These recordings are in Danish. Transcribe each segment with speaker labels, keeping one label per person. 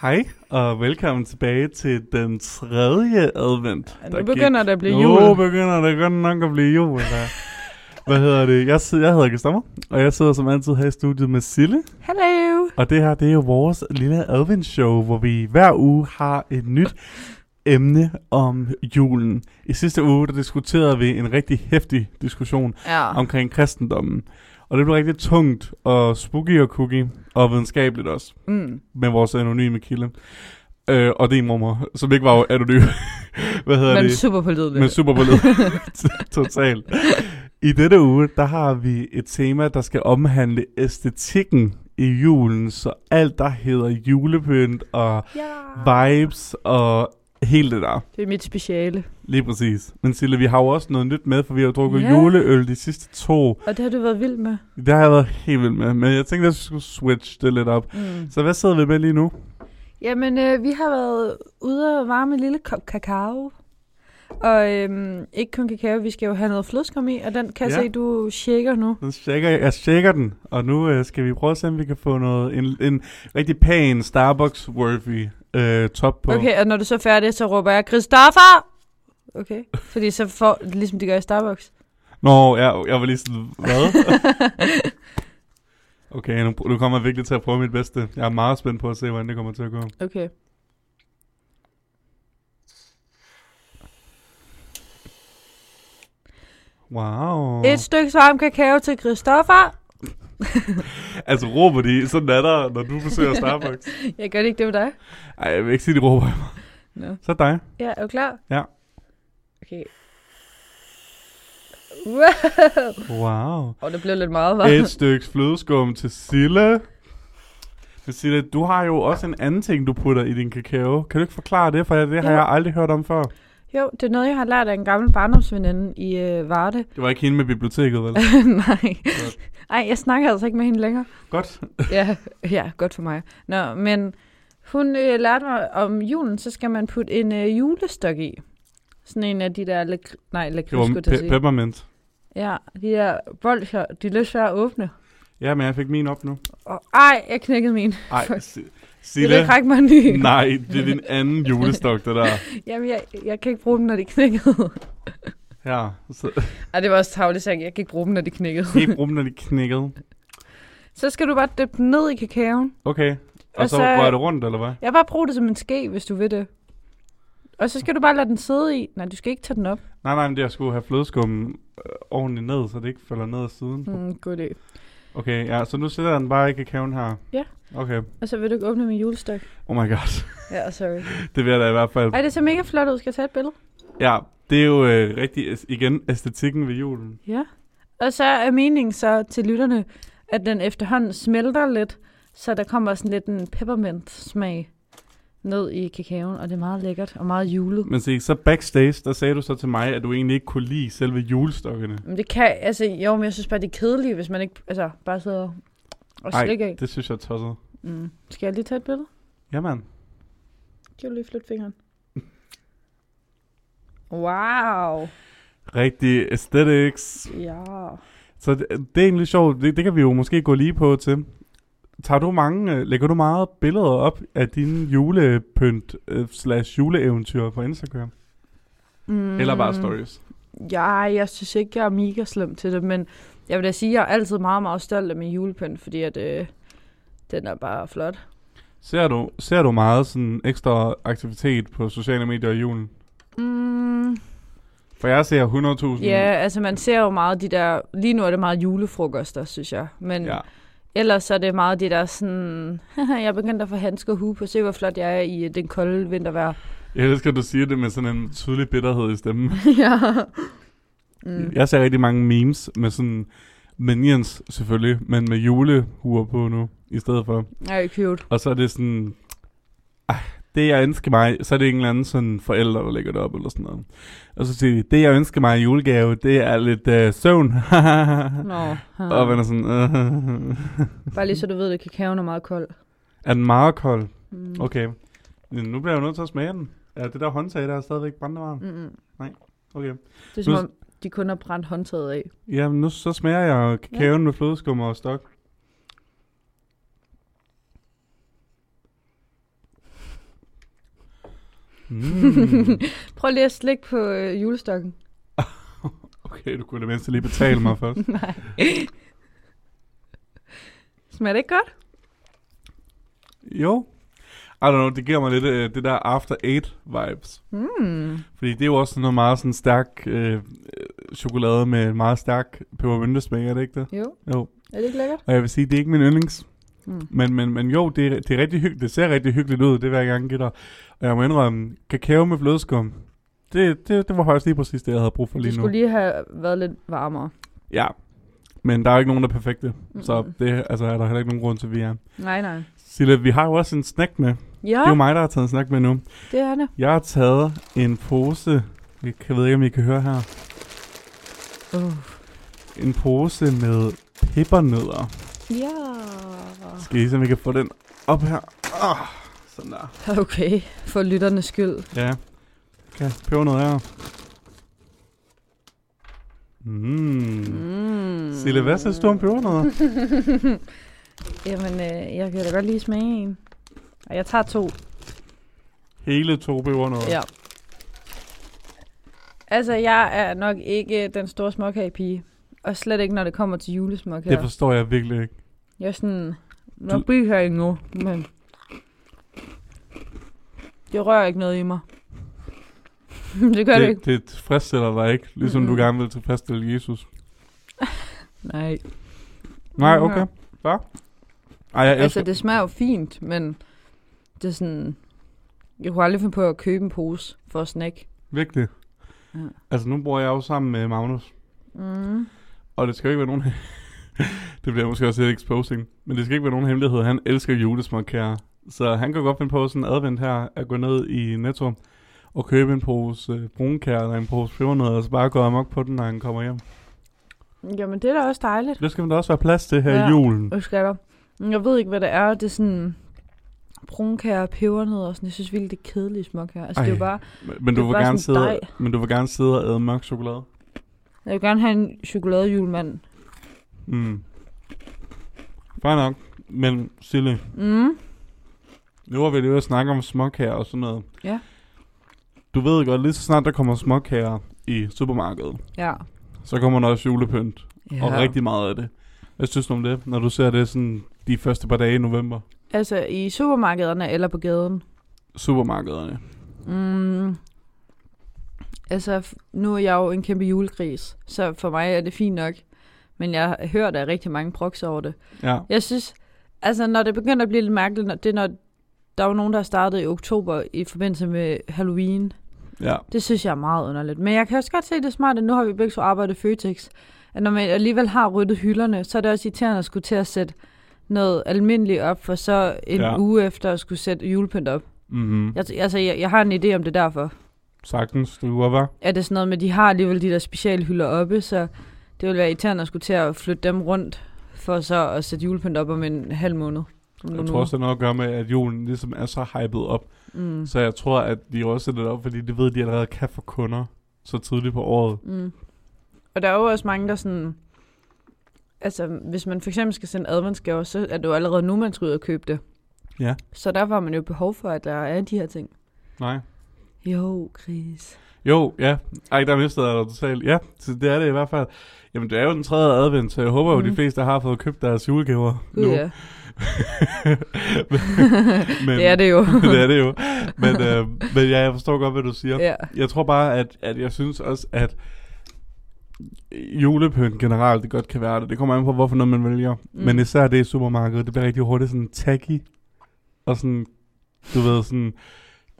Speaker 1: Hej, og velkommen tilbage til den tredje advent.
Speaker 2: Ja, nu begynder det at blive
Speaker 1: Nu
Speaker 2: jul.
Speaker 1: begynder det godt nok at blive jul. Da. Hvad hedder det? Jeg, sidder, jeg hedder Gustavo, og jeg sidder som altid her i studiet med Sille.
Speaker 2: Hello!
Speaker 1: Og det her, det er jo vores lille adventsshow, hvor vi hver uge har et nyt emne om julen. I sidste uge, der diskuterede vi en rigtig hæftig diskussion
Speaker 2: Ja.
Speaker 1: omkring kristendommen. Og det blev rigtig tungt og spooky og cookie og videnskabeligt også
Speaker 2: Mm.
Speaker 1: med vores anonyme kilde. Øh, og din mormor, som ikke var anonym. Hvad hedder
Speaker 2: Men
Speaker 1: det?
Speaker 2: super pålidelig.
Speaker 1: Men super Totalt. I dette uge, der har vi et tema, der skal omhandle æstetikken i julen. Så alt, der hedder julepynt og
Speaker 2: Ja.
Speaker 1: vibes og hele det der.
Speaker 2: Det er mit speciale.
Speaker 1: Lige præcis. Men Sille, vi har jo også noget nyt med, for vi har jo drukket
Speaker 2: Ja.
Speaker 1: juleøl de sidste to.
Speaker 2: Og det har du været vild med.
Speaker 1: Det har jeg været helt vild med, men jeg tænkte, at jeg skulle switch det lidt op.
Speaker 2: Mm.
Speaker 1: Så hvad sidder vi med lige nu?
Speaker 2: Jamen, øh, vi har været ude og varme en lille kop kakao. Og øhm, ikke kun kakao, vi skal jo have noget flødskum i, og den kan jeg
Speaker 1: Ja.
Speaker 2: se, du shaker nu.
Speaker 1: Den shaker, jeg shaker den, og nu øh, skal vi prøve at se, om vi kan få noget, en, en rigtig pæn Starbucks-worthy øh, top på.
Speaker 2: Okay, og når du så er færdig, så råber jeg, Christoffer! Okay, fordi så får, ligesom de gør i Starbucks.
Speaker 1: Nå, jeg, jeg var lige sådan, hvad? okay, nu, nu kommer jeg virkelig til at prøve mit bedste. Jeg er meget spændt på at se, hvordan det kommer til at gå.
Speaker 2: Okay.
Speaker 1: Wow.
Speaker 2: Et stykke varm kakao til Christoffer.
Speaker 1: Altså råber de, sådan er der, når du besøger Starbucks.
Speaker 2: Jeg gør det ikke det med dig.
Speaker 1: Ej, jeg vil ikke sige, de råber.
Speaker 2: No.
Speaker 1: Så er det dig.
Speaker 2: Ja, er du klar?
Speaker 1: Ja.
Speaker 2: Okay. Wow!
Speaker 1: Wow.
Speaker 2: Og det blev lidt meget, hva'?
Speaker 1: Et stykke flødeskum til Sille. Men Sille, du har jo også en anden ting, du putter i din kakao. Kan du ikke forklare det, for det har
Speaker 2: Jo.
Speaker 1: jeg aldrig hørt om før.
Speaker 2: Jo, det er noget, jeg har lært af en gammel barndomsveninde i øh, Varde.
Speaker 1: Det var ikke hende med biblioteket, vel?
Speaker 2: Nej. Ej, jeg snakker altså ikke med hende længere.
Speaker 1: Godt.
Speaker 2: Ja, ja godt for mig. Nå, men hun øh, lærte mig, om julen, så skal man putte en øh, julestok i. Sådan en af de der... Læk- nej,
Speaker 1: Det
Speaker 2: lakrids,
Speaker 1: var
Speaker 2: skulle jeg til at
Speaker 1: pe-
Speaker 2: sige.
Speaker 1: peppermint.
Speaker 2: Ja, de der bolcher, de er lidt svære at åbne.
Speaker 1: Ja, men jeg fik min op nu.
Speaker 2: Og, ej, jeg knækkede min.
Speaker 1: Ej, Si-
Speaker 2: Jeg vil
Speaker 1: Sille.
Speaker 2: ikke række mig en ny.
Speaker 1: Nej, det er din anden julestok, det der.
Speaker 2: Jamen, jeg, jeg kan ikke bruge dem, når de knækkede.
Speaker 1: Her. Så,
Speaker 2: Ej, det var også tavligt sagt. Jeg kan ikke bruge dem, når de knækkede.
Speaker 1: helt brugen, når de knækkede.
Speaker 2: Så skal du bare dyppe den ned i kakaoen.
Speaker 1: Okay. Og,
Speaker 2: Og
Speaker 1: så
Speaker 2: så-
Speaker 1: rører det rundt, eller hvad?
Speaker 2: Jeg bare brug det som en ske, hvis du vil det. Og så skal du bare lade den sidde i. Nej, du skal ikke tage den op.
Speaker 1: Nej, nej, men det, jeg skulle have flødeskum øh, ordentligt ned, så det ikke falder ned ad siden.
Speaker 2: Mm, god idé.
Speaker 1: Okay, ja, så nu sætter jeg den bare i kakaoen her.
Speaker 2: Ja.
Speaker 1: Okay.
Speaker 2: Og så vil du ikke åbne min julestok.
Speaker 1: Oh my god.
Speaker 2: Ja, sorry.
Speaker 1: Det vil jeg da i hvert fald.
Speaker 2: Ej, det ser mega flot ud. Skal jeg tage et billede?
Speaker 1: Ja, det er jo øh, rigtig, æs- igen, æstetikken ved julen.
Speaker 2: Ja. Og så er meningen så til lytterne, at den efterhånden smelter lidt, så der kommer sådan lidt en peppermint smag ned i kakaoen, og det er meget lækkert og meget julet.
Speaker 1: Men se, så backstage, der sagde du så til mig, at du egentlig ikke kunne lide selve julestokkene.
Speaker 2: Men det kan, altså, jo, men jeg synes bare, det er kedeligt, hvis man ikke, altså, bare sidder og
Speaker 1: Ej,
Speaker 2: slikker af.
Speaker 1: det synes jeg er tosset.
Speaker 2: Mm. Skal jeg lige tage et billede?
Speaker 1: Jamen,
Speaker 2: Kan du lige flytte fingeren? Wow.
Speaker 1: rigtig aesthetics.
Speaker 2: Ja.
Speaker 1: Så det, det er egentlig sjovt, det, det kan vi jo måske gå lige på til. Tager du mange, øh, lægger du meget billeder op af dine julepynt øh, slash juleeventyr på Instagram?
Speaker 2: Mm.
Speaker 1: Mm. Eller bare stories?
Speaker 2: Ja, jeg synes ikke, jeg er mega slem til det, men jeg vil da sige, at jeg er altid meget, meget stolt af min julepynt, fordi at, øh, den er bare flot.
Speaker 1: Ser du, ser du meget sådan ekstra aktivitet på sociale medier i julen?
Speaker 2: Mm.
Speaker 1: For jeg ser 100.000.
Speaker 2: Ja, altså man ser jo meget de der, lige nu er det meget julefrokoster, synes jeg, men
Speaker 1: ja.
Speaker 2: ja. ellers så er det meget de der sådan, haha, jeg er begyndt at få handsker og hue på, se hvor flot jeg er i øh, den kolde vintervejr.
Speaker 1: Jeg elsker, at du siger det med sådan en tydelig bitterhed i stemmen.
Speaker 2: ja.
Speaker 1: Mm. Jeg ser rigtig mange memes med sådan minions selvfølgelig, men med julehuer på nu i stedet for.
Speaker 2: Ej, cute.
Speaker 1: Og så er det sådan, ah, det jeg ønsker mig, så er det en eller anden sådan forælder, der lægger det op eller sådan noget. Og så siger de, det jeg ønsker mig i julegave, det er lidt øh, søvn.
Speaker 2: Nå. Ah.
Speaker 1: Og man er sådan, øh,
Speaker 2: Bare lige så du ved, at kakaoen er meget kold.
Speaker 1: er den meget kold?
Speaker 2: Mm.
Speaker 1: Okay. Nu bliver jeg jo nødt til at smage den. Er det der håndtag, der er stadigvæk brændevarm?
Speaker 2: Mm-mm.
Speaker 1: Okay.
Speaker 2: Det er som
Speaker 1: Nu-
Speaker 2: om, de kun har brændt håndtaget af.
Speaker 1: Ja, men nu så smager jeg kakaoen ja. med flødeskum og stok. Mm.
Speaker 2: Prøv lige at slikke på øh, julestokken.
Speaker 1: Okay, du kunne da mindst lige betale mig først.
Speaker 2: Nej. Smager det ikke godt?
Speaker 1: Jo. I don't know, det giver mig lidt øh, det der After Eight vibes.
Speaker 2: Mm.
Speaker 1: Fordi det er jo også sådan noget meget sådan stærk øh, øh, chokolade med en meget stærk pebermyntesmag, er det ikke det?
Speaker 2: Jo,
Speaker 1: Jo.
Speaker 2: er det ikke lækkert?
Speaker 1: Og jeg vil sige, det er ikke min yndlings.
Speaker 2: Mm.
Speaker 1: Men, men, men jo, det, er- det, er rigtig hyggeligt. det ser rigtig hyggeligt ud, det vil jeg gerne give dig. Og jeg må indrømme, kakao med flødeskum, det, det, det var faktisk lige præcis det, jeg havde brug for
Speaker 2: Det
Speaker 1: lige nu.
Speaker 2: skulle lige have været lidt varmere.
Speaker 1: Ja, men der er jo ikke nogen, der er perfekte.
Speaker 2: Mm.
Speaker 1: Så det altså, er der heller ikke nogen grund til, at vi er.
Speaker 2: Nej, nej.
Speaker 1: Sille, vi har jo også en snack med.
Speaker 2: Ja,
Speaker 1: Det er jo mig, der har taget en snack med nu.
Speaker 2: det er det.
Speaker 1: Jeg har taget en pose. Jeg kan- ved ikke, om I kan høre her.
Speaker 2: Uh.
Speaker 1: En pose med pebernødder.
Speaker 2: Ja.
Speaker 1: Skal I se, om vi kan få den op her? Oh, sådan der.
Speaker 2: Okay, for lytternes skyld.
Speaker 1: Ja. Kan jeg noget her? Mm.
Speaker 2: Mm.
Speaker 1: Sille, hvad synes du om pebernødder?
Speaker 2: Jamen, øh, jeg kan da godt lige smage en. Og jeg tager to.
Speaker 1: Hele to pebernødder.
Speaker 2: Ja. Altså, jeg er nok ikke den store småkagepige. Og slet ikke, når det kommer til julesmåkager.
Speaker 1: Det forstår jeg virkelig ikke.
Speaker 2: Jeg er sådan...
Speaker 1: Du-
Speaker 2: Nok bliver her endnu, men... Det rører ikke noget i mig. det gør det, det ikke.
Speaker 1: det, det tilfredsstiller dig ikke, ligesom mm-hmm.
Speaker 2: Mm-mm.
Speaker 1: du gerne vil tilfredsstille Jesus.
Speaker 2: Nej.
Speaker 1: Nej,
Speaker 2: Ja.
Speaker 1: okay. Hva? Ej, jeg elsker...
Speaker 2: Mm-hmm. Altså, det smager jo fint, men... Det er sådan... Jeg kunne aldrig finde på at købe en pose for at snakke.
Speaker 1: Virkelig.
Speaker 2: Ja.
Speaker 1: Altså, nu bor jeg jo sammen med Magnus,
Speaker 2: Mm.
Speaker 1: og det skal jo ikke være nogen... det bliver måske også lidt exposing, men det skal ikke være nogen hemmelighed. Han elsker julesmåkager, så han kan godt finde på sådan en advent her at gå ned i Netto og købe en pose øh, brunkager eller en pose pebernødder, og så bare gå amok på den, når han kommer hjem.
Speaker 2: Jamen, det er da også dejligt.
Speaker 1: Det skal man da også være plads til her ja.
Speaker 2: Ja.
Speaker 1: i julen.
Speaker 2: Og skatter. Jeg ved ikke, hvad det er. Det er sådan... Brunkager, pebernødder og sådan. Jeg synes virkelig, det er kedelige småkager. Altså, Ej. det er jo
Speaker 1: Ej.
Speaker 2: bare...
Speaker 1: Men- Men
Speaker 2: Det
Speaker 1: du,
Speaker 2: er
Speaker 1: vil
Speaker 2: bare
Speaker 1: gerne
Speaker 2: sådan
Speaker 1: sidde,
Speaker 2: dej.
Speaker 1: men du vil gerne sidde og æde mørk chokolade.
Speaker 2: Jeg vil gerne have en chokoladejulemand.
Speaker 1: Mm. Fair nok. Men Sille,
Speaker 2: Mm.
Speaker 1: nu var vi lige ved at snakke om småkager og sådan noget.
Speaker 2: Ja.
Speaker 1: Du ved godt, lige så snart der kommer småkager i supermarkedet,
Speaker 2: Ja.
Speaker 1: så kommer der også julepynt.
Speaker 2: ja.
Speaker 1: Ja. Og rigtig meget af det. Hvad synes du om det, når du ser det sådan de første par dage i november?
Speaker 2: Altså i supermarkederne eller på gaden?
Speaker 1: Supermarkederne.
Speaker 2: Mm. Altså, f- nu er jeg jo en kæmpe julegris, så for mig er det fint nok. Men jeg har hørt, der er rigtig mange proks over det.
Speaker 1: Ja.
Speaker 2: Jeg synes, altså når det begynder at blive lidt mærkeligt, når, det er når der var nogen, der startede i oktober i forbindelse med Halloween.
Speaker 1: Ja.
Speaker 2: Det synes jeg er meget underligt. Men jeg kan også godt se det smarte, nu har vi begge to arbejdet i Føtex, at når man alligevel har ryddet hylderne, så er det også irriterende at skulle til at sætte noget almindeligt op, for så en
Speaker 1: Ja.
Speaker 2: ja. uge efter at skulle sætte julepynt op.
Speaker 1: Mm-hmm.
Speaker 2: Jeg, altså, jeg, jeg har en idé om det derfor.
Speaker 1: Sagtens, du var var.
Speaker 2: Er det sådan noget med, de har alligevel de der specialhylder oppe, så det ville være irriterende at skulle til at flytte dem rundt, for så at sætte julepynt op om en halv måned. Om
Speaker 1: Jeg
Speaker 2: nogle
Speaker 1: tror også, det har noget at gøre med, at julen ligesom er så hypet op.
Speaker 2: uger. mm.
Speaker 1: Så jeg tror, at de også sætter det op, fordi det ved, de allerede kan for kunder så tidligt på året.
Speaker 2: Mm. Og der er jo også mange, der sådan... Altså, hvis man for eksempel skal sende adventsgaver, så er det jo allerede nu, man skal ud og købe det.
Speaker 1: Ja.
Speaker 2: Så derfor har man jo behov for, at der er de her ting.
Speaker 1: Nej.
Speaker 2: Jo, Chris.
Speaker 1: Jo, ja. Ej, der mistede jeg dig totalt. Ja, så det er det i hvert fald. Jamen, det er jo den tredje advent, så jeg håber jo, mm.
Speaker 2: Mhm.
Speaker 1: de fleste har fået købt deres julegaver
Speaker 2: Gud,
Speaker 1: nu.
Speaker 2: ja.
Speaker 1: men,
Speaker 2: Det er det jo.
Speaker 1: det er det jo. Men, øh, men ja, jeg forstår godt, hvad du siger.
Speaker 2: ja.
Speaker 1: Jeg tror bare, at, at jeg synes også, at julepynt generelt, det godt kan være det. Det kommer an på, hvorfor noget man vælger. Mm.
Speaker 2: Mm.
Speaker 1: Men især det i supermarkedet, det bliver rigtig hurtigt sådan tacky. Og sådan, du ved, sådan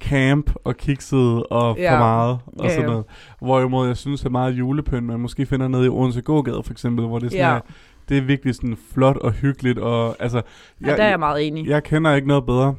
Speaker 1: camp og kikset og ja.
Speaker 2: Ja.
Speaker 1: for meget og
Speaker 2: Ja,
Speaker 1: sådan
Speaker 2: ja.
Speaker 1: noget. Hvorimod jeg synes, at meget julepynt, man måske finder nede i Odense Gågade for eksempel, hvor det er sådan,
Speaker 2: Ja.
Speaker 1: ja. det er virkelig sådan flot og hyggeligt. Og, altså,
Speaker 2: ja, der er jeg meget enig.
Speaker 1: jeg kender ikke noget bedre,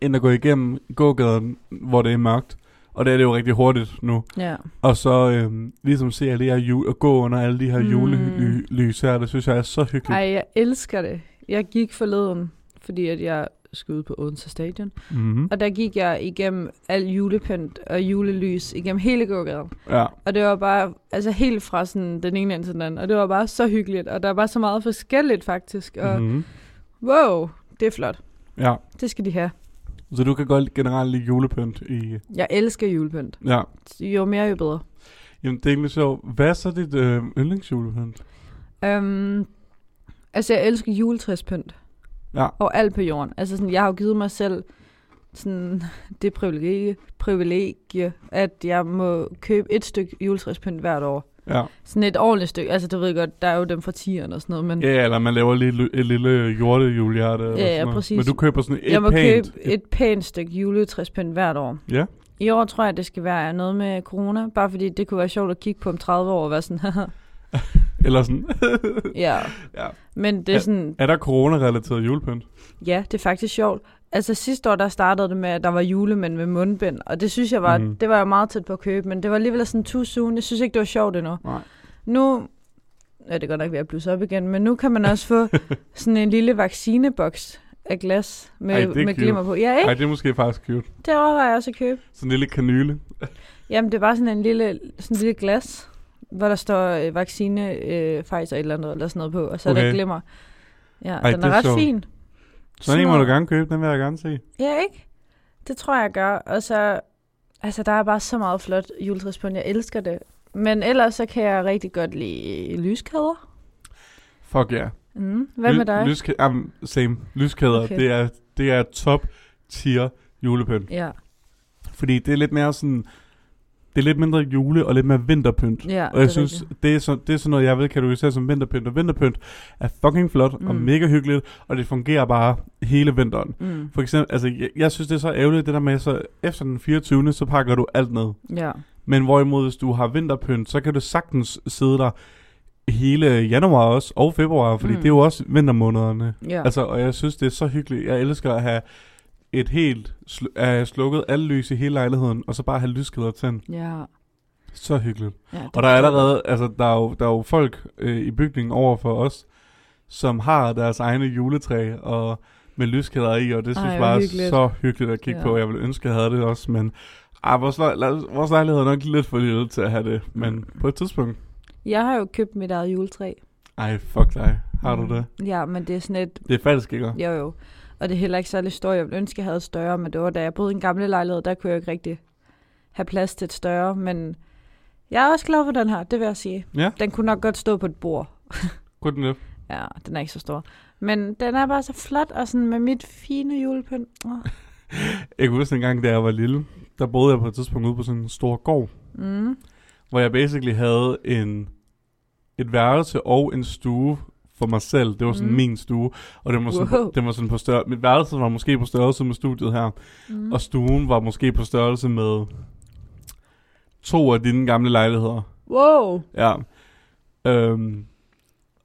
Speaker 1: end at gå igennem gågaden, hvor det er mørkt. Og det er det jo rigtig hurtigt nu.
Speaker 2: Ja.
Speaker 1: Og så øhm, ligesom se alle de her jule, og gå under alle de her
Speaker 2: Mm.
Speaker 1: julelys her, det synes jeg er så hyggeligt.
Speaker 2: Ej, jeg elsker det. Jeg gik forleden, fordi at jeg skulle ud på Odense Stadion.
Speaker 1: Mm-hmm.
Speaker 2: Og der gik jeg igennem al julepynt og julelys igennem hele gågaden.
Speaker 1: Ja,
Speaker 2: Og det var bare, altså helt fra sådan den ene ende til den anden. Og det var bare så hyggeligt, og der var så meget
Speaker 1: Mhm.
Speaker 2: forskelligt faktisk. Og
Speaker 1: mm-hmm.
Speaker 2: wow, det er flot.
Speaker 1: ja.
Speaker 2: Det skal de have.
Speaker 1: Så du kan godt generelt lide julepynt i...
Speaker 2: Jeg elsker julepynt.
Speaker 1: Ja.
Speaker 2: Jo mere, jo bedre.
Speaker 1: Jamen, det er egentlig sjovt. Hvad er så dit øh, yndlingsjulepynt?
Speaker 2: Øhm, altså, jeg elsker juletræspynt.
Speaker 1: Ja.
Speaker 2: Og alt på jorden. Altså, sådan, jeg har jo givet mig selv sådan, det privilegie, privilegie, at jeg må købe et stykke juletræspynt hvert år.
Speaker 1: Ja.
Speaker 2: Sådan et ordentligt stykke. Altså, du ved godt, der er jo dem fra 10'erne og sådan noget, men
Speaker 1: ja, eller man laver lige et ly- et lille hjortejulehjerte. eller
Speaker 2: Mm. Ja, ja,
Speaker 1: sådan noget.
Speaker 2: præcis.
Speaker 1: Men du køber sådan et
Speaker 2: jeg må
Speaker 1: pænt...
Speaker 2: købe et pænt stykke juletræspynt hvert år.
Speaker 1: Ja.
Speaker 2: I år tror jeg, det skal være noget med corona, bare fordi det kunne være sjovt at kigge på om 30 år og være sådan, haha,
Speaker 1: Eller sådan...
Speaker 2: ja.
Speaker 1: Ja.
Speaker 2: Men det er
Speaker 1: Ja.
Speaker 2: sådan,
Speaker 1: er der corona-relateret julepynt?
Speaker 2: Ja, det er faktisk sjovt. Altså sidste år, der startede det med, at der var julemænd med mundbind, og det synes jeg var,
Speaker 1: Mhm.
Speaker 2: mm. det var jeg meget tæt på at købe, men det var alligevel sådan too soon. Jeg synes ikke, det var sjovt endnu.
Speaker 1: Nej.
Speaker 2: Nu ja, det er godt nok ved at blusse op igen, men nu kan man også få sådan en lille vaccineboks af glas med,
Speaker 1: Ej, det er
Speaker 2: med
Speaker 1: cute.
Speaker 2: glimmer på. Ja, ikke?
Speaker 1: Nej, det er måske faktisk cute.
Speaker 2: Det overvejer jeg også at købe.
Speaker 1: Sådan en lille kanyle.
Speaker 2: Jamen, det er bare sådan en lille, sådan en lille glas, hvor der står øh, vaccine, øh, Pfizer et eller andet, eller sådan noget på, og så okay. er
Speaker 1: Okay.
Speaker 2: der glimmer. Ja,
Speaker 1: Ej,
Speaker 2: den
Speaker 1: det
Speaker 2: er
Speaker 1: er
Speaker 2: ret
Speaker 1: sjovt.
Speaker 2: fin.
Speaker 1: Sådan en må
Speaker 2: noget.
Speaker 1: du gerne købe, den vil jeg gerne se.
Speaker 2: Ja, ikke? Det tror jeg, jeg gør. Og så, altså, der er bare så meget flot juletræspynt. Jeg elsker det. Men ellers så kan jeg rigtig godt lide lyskæder.
Speaker 1: Fuck ja. Yeah.
Speaker 2: Mm. Hvad med dig?
Speaker 1: Lyska- jamen, same. Lyskæder, okay.
Speaker 2: Okay.
Speaker 1: det, er, det er top tier julepynt.
Speaker 2: ja,
Speaker 1: Fordi det er lidt mere sådan... Det er lidt mindre jule og lidt mere vinterpynt.
Speaker 2: ja
Speaker 1: Og jeg synes, det er, så, det er sådan noget, jeg ved, kategorisere som vinterpynt. Og vinterpynt er fucking flot mm. og
Speaker 2: Mm.
Speaker 1: mega hyggeligt, og det fungerer bare hele vinteren.
Speaker 2: Mm.
Speaker 1: For eksempel, altså, jeg, jeg synes, det er så ærgerligt, det der med, så efter den 24. så pakker du alt ned.
Speaker 2: Ja.
Speaker 1: Men hvorimod, hvis du har vinterpynt, så kan du sagtens sidde der hele januar også, og februar, fordi mm.
Speaker 2: Mm.
Speaker 1: det er jo også vintermånederne.
Speaker 2: Ja.
Speaker 1: Ja. Altså, og jeg synes, det er så hyggeligt. Jeg elsker at have et helt sl- at have slukket alle lys i hele lejligheden, og så bare have lyskæder tændt.
Speaker 2: ja.
Speaker 1: Så hyggeligt.
Speaker 2: ja det
Speaker 1: Og der er allerede, altså der er jo, der er jo folk øh, i bygningen over for os, som har deres egne juletræ og med lyskæder i, og det synes
Speaker 2: Ej,
Speaker 1: jeg
Speaker 2: hvor
Speaker 1: bare er
Speaker 2: hyggeligt.
Speaker 1: så hyggeligt at kigge ja.
Speaker 2: Ja.
Speaker 1: på. Jeg ville ønske, jeg havde det også, men ah, vores, lej- lej- vores lejlighed er nok lidt for lille til at have det, men på et tidspunkt,
Speaker 2: Jeg har jo købt mit eget juletræ. Mm.
Speaker 1: ej fuck dig, har du det?
Speaker 2: Ja, men det er sådan et...
Speaker 1: Det er faktisk ikke.
Speaker 2: Jo, jo. Og det er heller ikke særlig stort. Jeg ville ønske, jeg havde et større, men det var da jeg boede i en gamle lejlighed, der kunne jeg jo ikke rigtig have plads til et større. Men jeg er også glad for den her, det vil jeg sige.
Speaker 1: Ja.
Speaker 2: Den kunne nok godt stå på et bord.
Speaker 1: Good enough.
Speaker 2: Ja, den er ikke så stor. Men den er bare så flot, og sådan med mit fine julepynt. Åh.
Speaker 1: Jeg kan huske en gang, da jeg var lille, der boede jeg på et tidspunkt ude på sådan en stor gård,
Speaker 2: Mm.
Speaker 1: hvor jeg basically havde en, et værelse og en stue for mig selv. Det var sådan mm.
Speaker 2: Mm.
Speaker 1: min stue, og det var sådan,
Speaker 2: Wow.
Speaker 1: det var sådan på større, mit værelse var måske på størrelse med studiet her,
Speaker 2: Mm.
Speaker 1: og stuen var måske på størrelse med to af dine gamle lejligheder.
Speaker 2: Wow.
Speaker 1: Ja. Øhm,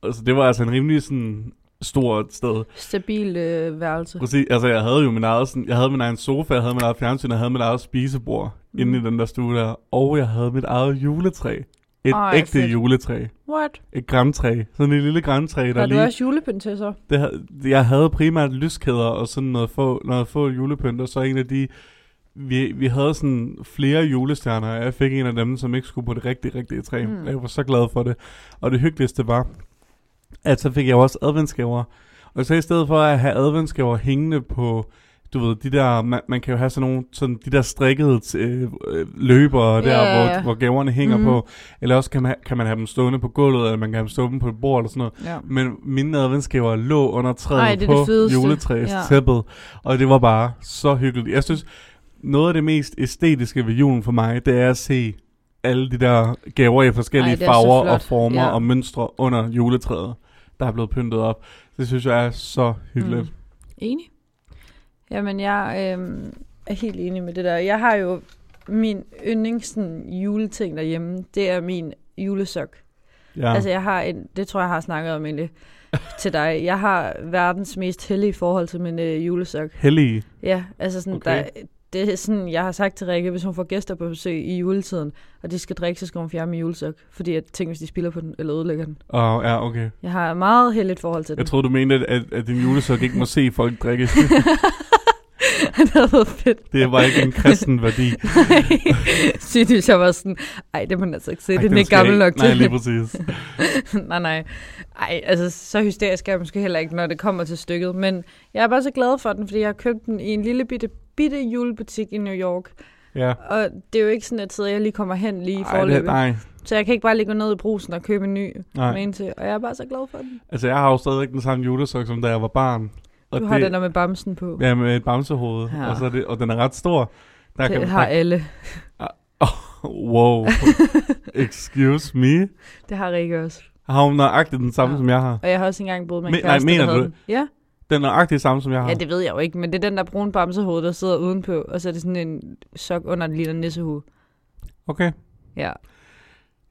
Speaker 1: altså, det var altså en rimelig sådan stort sted.
Speaker 2: Stabil øh, værelse.
Speaker 1: Præcis, altså jeg havde jo min eget, sådan, jeg havde min egen sofa, jeg havde min eget fjernsyn, jeg havde mit eget spisebord mm. inde i den der stue der, og jeg havde mit eget juletræ. Et Ej,
Speaker 2: Ej,
Speaker 1: ægte fedt.
Speaker 2: fedt.
Speaker 1: juletræ.
Speaker 2: What?
Speaker 1: Et græntræ. Sådan et lille græntræ, der
Speaker 2: Har du
Speaker 1: lige...
Speaker 2: også julepynt til så?
Speaker 1: Det, havde- jeg havde primært lyskæder og sådan noget få, noget få julepynt, og så en af de... Vi, vi havde sådan flere julestjerner, og jeg fik en af dem, som ikke skulle på det rigtige, rigtige træ. Mm.
Speaker 2: Mm.
Speaker 1: Jeg var så glad for det. Og det hyggeligste var, at så fik jeg jo også adventsgaver. Og så i stedet for at have adventsgaver hængende på, du ved, de der, man, man kan jo have sådan nogle, sådan de der strikkede øh, øh, løbere der,
Speaker 2: Ja, ja,
Speaker 1: yeah.
Speaker 2: ja.
Speaker 1: hvor, hvor gaverne hænger mm.
Speaker 2: Mhm.
Speaker 1: på. Eller også kan man, ha- kan man have dem stående på gulvet, eller man kan have dem stående på et bord eller sådan noget.
Speaker 2: Ja.
Speaker 1: Men mine adventsgaver lå under træet
Speaker 2: Ej, det er
Speaker 1: på
Speaker 2: det fedeste.
Speaker 1: juletræstæppet, ja. og det var bare så hyggeligt. Jeg synes, noget af det mest æstetiske ved julen for mig, det er at se alle de der gaver i forskellige
Speaker 2: Ej, det
Speaker 1: Ej,
Speaker 2: er så
Speaker 1: farver
Speaker 2: flot.
Speaker 1: og former
Speaker 2: Ja.
Speaker 1: og mønstre under juletræet, der er blevet pyntet op. Det synes jeg er så hyggeligt. Mm.
Speaker 2: Enig. Jamen, jeg øh, er helt enig med det der. Jeg har jo min yndlings sådan, juleting derhjemme. Det er min julesok.
Speaker 1: Ja.
Speaker 2: Altså, jeg har en, det tror jeg, jeg har snakket om egentlig til dig. Jeg har verdens mest heldige forhold til min øh, julesok.
Speaker 1: Hellige.
Speaker 2: Ja, altså sådan,
Speaker 1: Okay.
Speaker 2: okay. der, det er sådan, jeg har sagt til Rikke, hvis hun får gæster på besøg i juletiden, og de skal drikke, så skal hun fjerne min julesok. Fordi jeg tænker, hvis de spiller på den, eller ødelægger den.
Speaker 1: Åh, oh, ja, okay.
Speaker 2: Jeg har et meget heldigt forhold til den.
Speaker 1: Jeg troede, du mente, at- at, at din julesok ikke må se folk drikke.
Speaker 2: det havde været fedt.
Speaker 1: Det var ikke en kristen værdi.
Speaker 2: Sygt, hvis jeg var sådan, ej, det må man altså ikke se,
Speaker 1: Ej,
Speaker 2: det er den
Speaker 1: den
Speaker 2: ikke
Speaker 1: skal jeg
Speaker 2: gammel nok til.
Speaker 1: Nej, lige præcis.
Speaker 2: nej, nej. Ej, altså så hysterisk er jeg måske heller ikke, når det kommer til stykket. Men jeg er bare så glad for den, fordi jeg har købt den i en lille bitte bitte julebutik i New York.
Speaker 1: Ja.
Speaker 2: Og det er jo ikke sådan et sted, jeg lige kommer hen lige i
Speaker 1: Ej, det,
Speaker 2: forløbet.
Speaker 1: nej,
Speaker 2: Så jeg kan ikke bare lige gå ned i brusen og købe en ny
Speaker 1: nej.
Speaker 2: med en til. Og jeg er bare så glad for den.
Speaker 1: Altså, jeg har jo stadigvæk den samme julesok, som da jeg var barn. Og
Speaker 2: Du har den der med bamsen på.
Speaker 1: Ja, med et bamsehoved.
Speaker 2: Ja.
Speaker 1: Ja. Og, så er det, og den er ret stor. Der
Speaker 2: det
Speaker 1: man-
Speaker 2: har alle.
Speaker 1: der, wow. Excuse me.
Speaker 2: Det har Rikke også.
Speaker 1: Har hun nøjagtigt den samme,
Speaker 2: Ja.
Speaker 1: ja. som jeg har?
Speaker 2: Og jeg har også engang boet med en
Speaker 1: Men- nej,
Speaker 2: kæreste, der
Speaker 1: mener
Speaker 2: havde
Speaker 1: du Ah.
Speaker 2: den. Ja.
Speaker 1: Den er nøjagtigt samme, som jeg har.
Speaker 2: ja, det ved jeg jo ikke, men det er den der brune bamsehoved, der sidder udenpå, og så er det sådan en sok under den lille nissehue.
Speaker 1: Okay.
Speaker 2: Ja,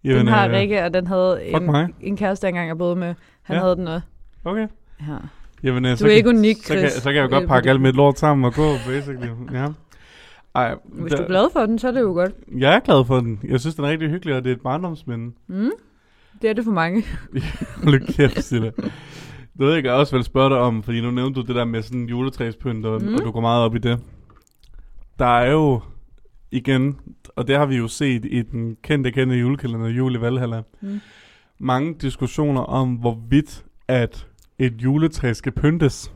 Speaker 1: Jamen,
Speaker 2: den har
Speaker 1: øh,
Speaker 2: Rikke, og den havde
Speaker 1: Fuck
Speaker 2: en,
Speaker 1: mig.
Speaker 2: en kæreste, jeg engang er boet med. Han ja.
Speaker 1: Ja.
Speaker 2: havde den også.
Speaker 1: Okay.
Speaker 2: Ja.
Speaker 1: Jamen, øh,
Speaker 2: Du er ikke unik,
Speaker 1: så, kan,
Speaker 2: Chris.
Speaker 1: så kan jeg jo
Speaker 2: Du er
Speaker 1: godt pakke
Speaker 2: unik.
Speaker 1: alt mit lort sammen og gå, basically. Ja. Ej,
Speaker 2: Hvis
Speaker 1: der-
Speaker 2: du er glad for den, så er det jo godt.
Speaker 1: Jeg er glad for den. Jeg synes, den er rigtig hyggelig, og det er et barndomsminde.
Speaker 2: Mm? Det er det for mange.
Speaker 1: Hold kæft, Silla. Det ved jeg, jeg også vil spørge dig om, fordi nu nævnte du det der med sådan juletræspynt, og,
Speaker 2: Mm.
Speaker 1: mm. og du går meget op i det. Der er jo igen, og det har vi jo set i den kendte, kendte julekalender, Jul i Valhalla,
Speaker 2: Mm.
Speaker 1: mm. mange diskussioner om, hvorvidt at et juletræ skal pyntes.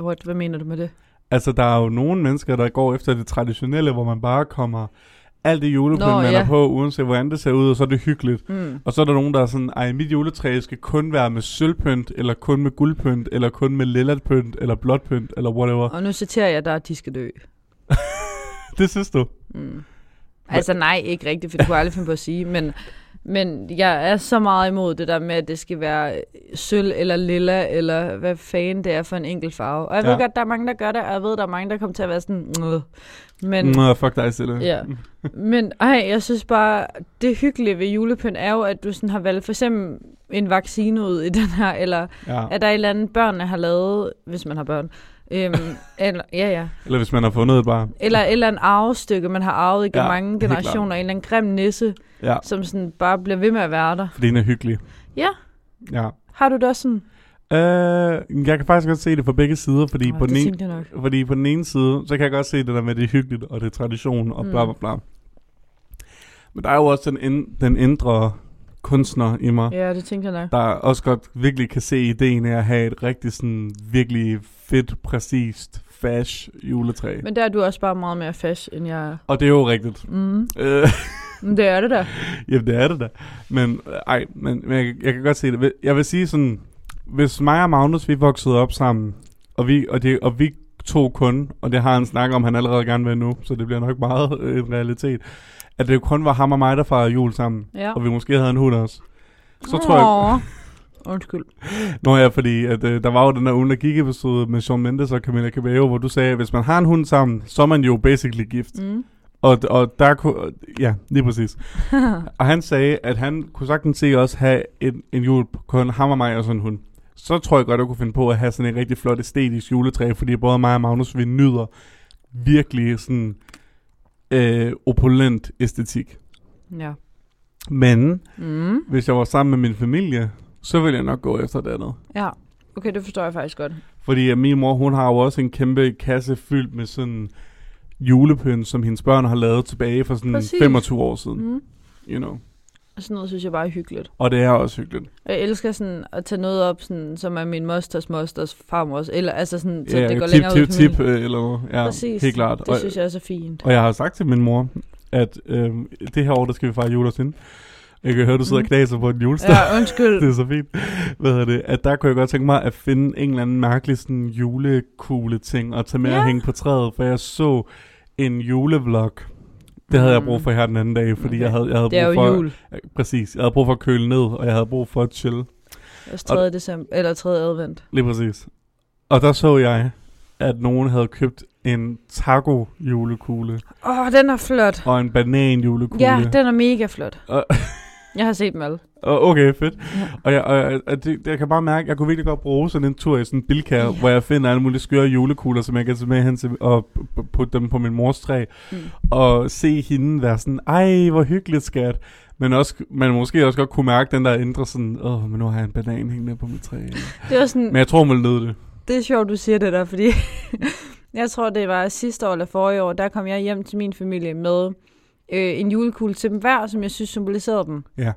Speaker 2: What, hvad mener du med det?
Speaker 1: Altså, der er jo nogle mennesker, der går efter det traditionelle, hvor man bare kommer alt det julepynt,
Speaker 2: Nå,
Speaker 1: man
Speaker 2: ja.
Speaker 1: er på, uanset hvordan det ser ud, og så er det hyggeligt.
Speaker 2: Mm.
Speaker 1: Og så er der nogen, der er sådan, ej, mit juletræ skal kun være med sølvpynt, eller kun med guldpynt, eller kun med lillardpynt, eller blåt pynt, eller whatever.
Speaker 2: Og nu citerer jeg dig, de skal dø.
Speaker 1: Det synes du?
Speaker 2: Mm. Altså nej, ikke rigtigt, for det kunne jeg aldrig finde på at sige, men, men jeg er så meget imod det der med, at det skal være sølv eller lilla, eller hvad fanden det er for en enkelt farve. Og jeg ved
Speaker 1: Ja.
Speaker 2: godt, der er mange, der gør det, og jeg ved, der er mange, der kommer til at være sådan, "Mwah." men,
Speaker 1: Nå, fuck dig, Sille.
Speaker 2: Ja. men ej, jeg synes bare, det hyggelige ved julepynt er jo, at du sådan har valgt for eksempel en vaccine ud i den her, eller
Speaker 1: ja.
Speaker 2: at der er et eller andet, børnene har lavet, hvis man har børn. Øhm, eller, ja, ja.
Speaker 1: Eller hvis man har fundet et bare.
Speaker 2: Eller et eller andet arvestykke, man har arvet igennem ja,
Speaker 1: Ja,
Speaker 2: mange
Speaker 1: helt klart.
Speaker 2: generationer. En eller anden grim nisse,
Speaker 1: Ja,
Speaker 2: som sådan bare bliver ved med at være der.
Speaker 1: fordi den er hyggelig.
Speaker 2: Ja.
Speaker 1: Ja.
Speaker 2: Har du det også sådan?
Speaker 1: Øh, jeg kan faktisk godt se det fra begge sider, fordi,
Speaker 2: Åh,
Speaker 1: på, den
Speaker 2: det
Speaker 1: ene,
Speaker 2: tænkte jeg nok.
Speaker 1: fordi på den ene side, så kan jeg godt se det der med, at det er hyggeligt, og det er tradition, og bla
Speaker 2: Mm.
Speaker 1: bla bla. Men der er jo også den, ind, den indre kunstner i mig,
Speaker 2: Ja, det tænkte jeg nok.
Speaker 1: der også godt virkelig kan se ideen af at have et rigtig sådan virkelig fedt, præcist, fash juletræ. Men...
Speaker 2: Men der er du også bare meget mere fast, end jeg er.
Speaker 1: Og det er jo rigtigt.
Speaker 2: Mm.
Speaker 1: Øh,
Speaker 2: Men det er det der.
Speaker 1: jamen, det er det da. Men øh, ej, men, men jeg, jeg kan godt se det. Jeg vil sige sådan, hvis mig og Magnus, vi voksede op sammen, og vi, og det, og vi to kun, og det har han snakket om, han allerede gerne vil nu, så det bliver nok meget øh, en realitet, at det kun var ham og mig, der fejrede jul sammen,
Speaker 2: Ja.
Speaker 1: og vi måske havde en hund også. Så tror jeg,
Speaker 2: Åh, Undskyld.
Speaker 1: Nå ja, fordi at, øh, der var jo den der ugen, der gik episode med Sean Mendes og Camilla Cabello, hvor du sagde, at hvis man har en hund sammen, så er man jo basically gift.
Speaker 2: Mm.
Speaker 1: Og, og der kunne, ja, lige præcis. Og han sagde, at han kunne sagtens se os have en, en jul, kun ham og mig og sådan en hund. Så tror jeg godt, jeg kunne finde på at have sådan en rigtig flot æstetisk juletræ, fordi både mig og Magnus, vi nyder virkelig sådan øh, opulent æstetik.
Speaker 2: ja.
Speaker 1: Men
Speaker 2: Mm.
Speaker 1: hvis jeg var sammen med min familie, så ville jeg nok gå efter det andet.
Speaker 2: Ja. Okay, det forstår jeg faktisk godt.
Speaker 1: Fordi at min mor, hun har jo også en kæmpe kasse fyldt med sådan julepynt, som hendes børn har lavet tilbage for sådan
Speaker 2: Præcis.
Speaker 1: Præcis. 25 år siden.
Speaker 2: Mm.
Speaker 1: You know.
Speaker 2: Og sådan noget synes jeg bare er hyggeligt.
Speaker 1: Og det er også hyggeligt.
Speaker 2: Og Jeg elsker sådan at tage noget op, sådan, som er min mosters, mosters, farmors, eller altså sådan, så det går
Speaker 1: tip,
Speaker 2: længere ud i
Speaker 1: tip,
Speaker 2: familien.
Speaker 1: tip, øh, eller noget. Ja,
Speaker 2: Præcis.
Speaker 1: helt klart.
Speaker 2: Det
Speaker 1: og,
Speaker 2: synes jeg også er fint.
Speaker 1: og jeg har sagt til min mor, at øh, det her år, der skal vi fejre jul hos hende. Jeg kan høre, du sidder
Speaker 2: Mm.
Speaker 1: og knaser på en julestab.
Speaker 2: Ja, undskyld.
Speaker 1: Det er så fint. Hvad hedder det? At der kunne jeg godt tænke mig at finde en eller anden mærkelig sådan julekugle ting og tage med
Speaker 2: Ja.
Speaker 1: og hænge på træet, for jeg så en julevlog. Det havde jeg brug for her den anden dag, fordi
Speaker 2: Okay.
Speaker 1: jeg havde, jeg havde
Speaker 2: Mm. Det er
Speaker 1: brug
Speaker 2: jo
Speaker 1: for...
Speaker 2: jul.
Speaker 1: Ja, Præcis. Jeg havde brug for at køle ned, og jeg havde brug for at chill.
Speaker 2: Også 3. december, eller 3. advent.
Speaker 1: Lige præcis. Og der så jeg, at nogen havde købt en taco julekugle
Speaker 2: Åh, oh, den er flot.
Speaker 1: og en banan julekugle.
Speaker 2: Ja, den er mega flot.
Speaker 1: Og-
Speaker 2: Jeg har set dem alle.
Speaker 1: Okay, fedt.
Speaker 2: Ja.
Speaker 1: Og jeg, og jeg, og det, jeg kan bare mærke, at jeg kunne virkelig godt bruge sådan en tur i sådan en bilka,
Speaker 2: Ja.
Speaker 1: ja. hvor jeg finder alle mulige skøre julekugler, som jeg kan tage med hen til, og p- p- putte dem på min mors træ,
Speaker 2: Mm.
Speaker 1: mm. og se hende være sådan, ej, hvor hyggeligt, skat. Men også, man måske også godt kunne mærke den der indre sådan, åh, men nu har jeg en banan hængende på mit træ.
Speaker 2: Det var sådan,
Speaker 1: Men jeg tror, hun ville nyde det.
Speaker 2: det er sjovt, du siger det der, fordi jeg tror, det var sidste år eller forrige år, der kom jeg hjem til min familie med øh, en julekugle til dem hver, som jeg synes symboliserede dem.
Speaker 1: Ja.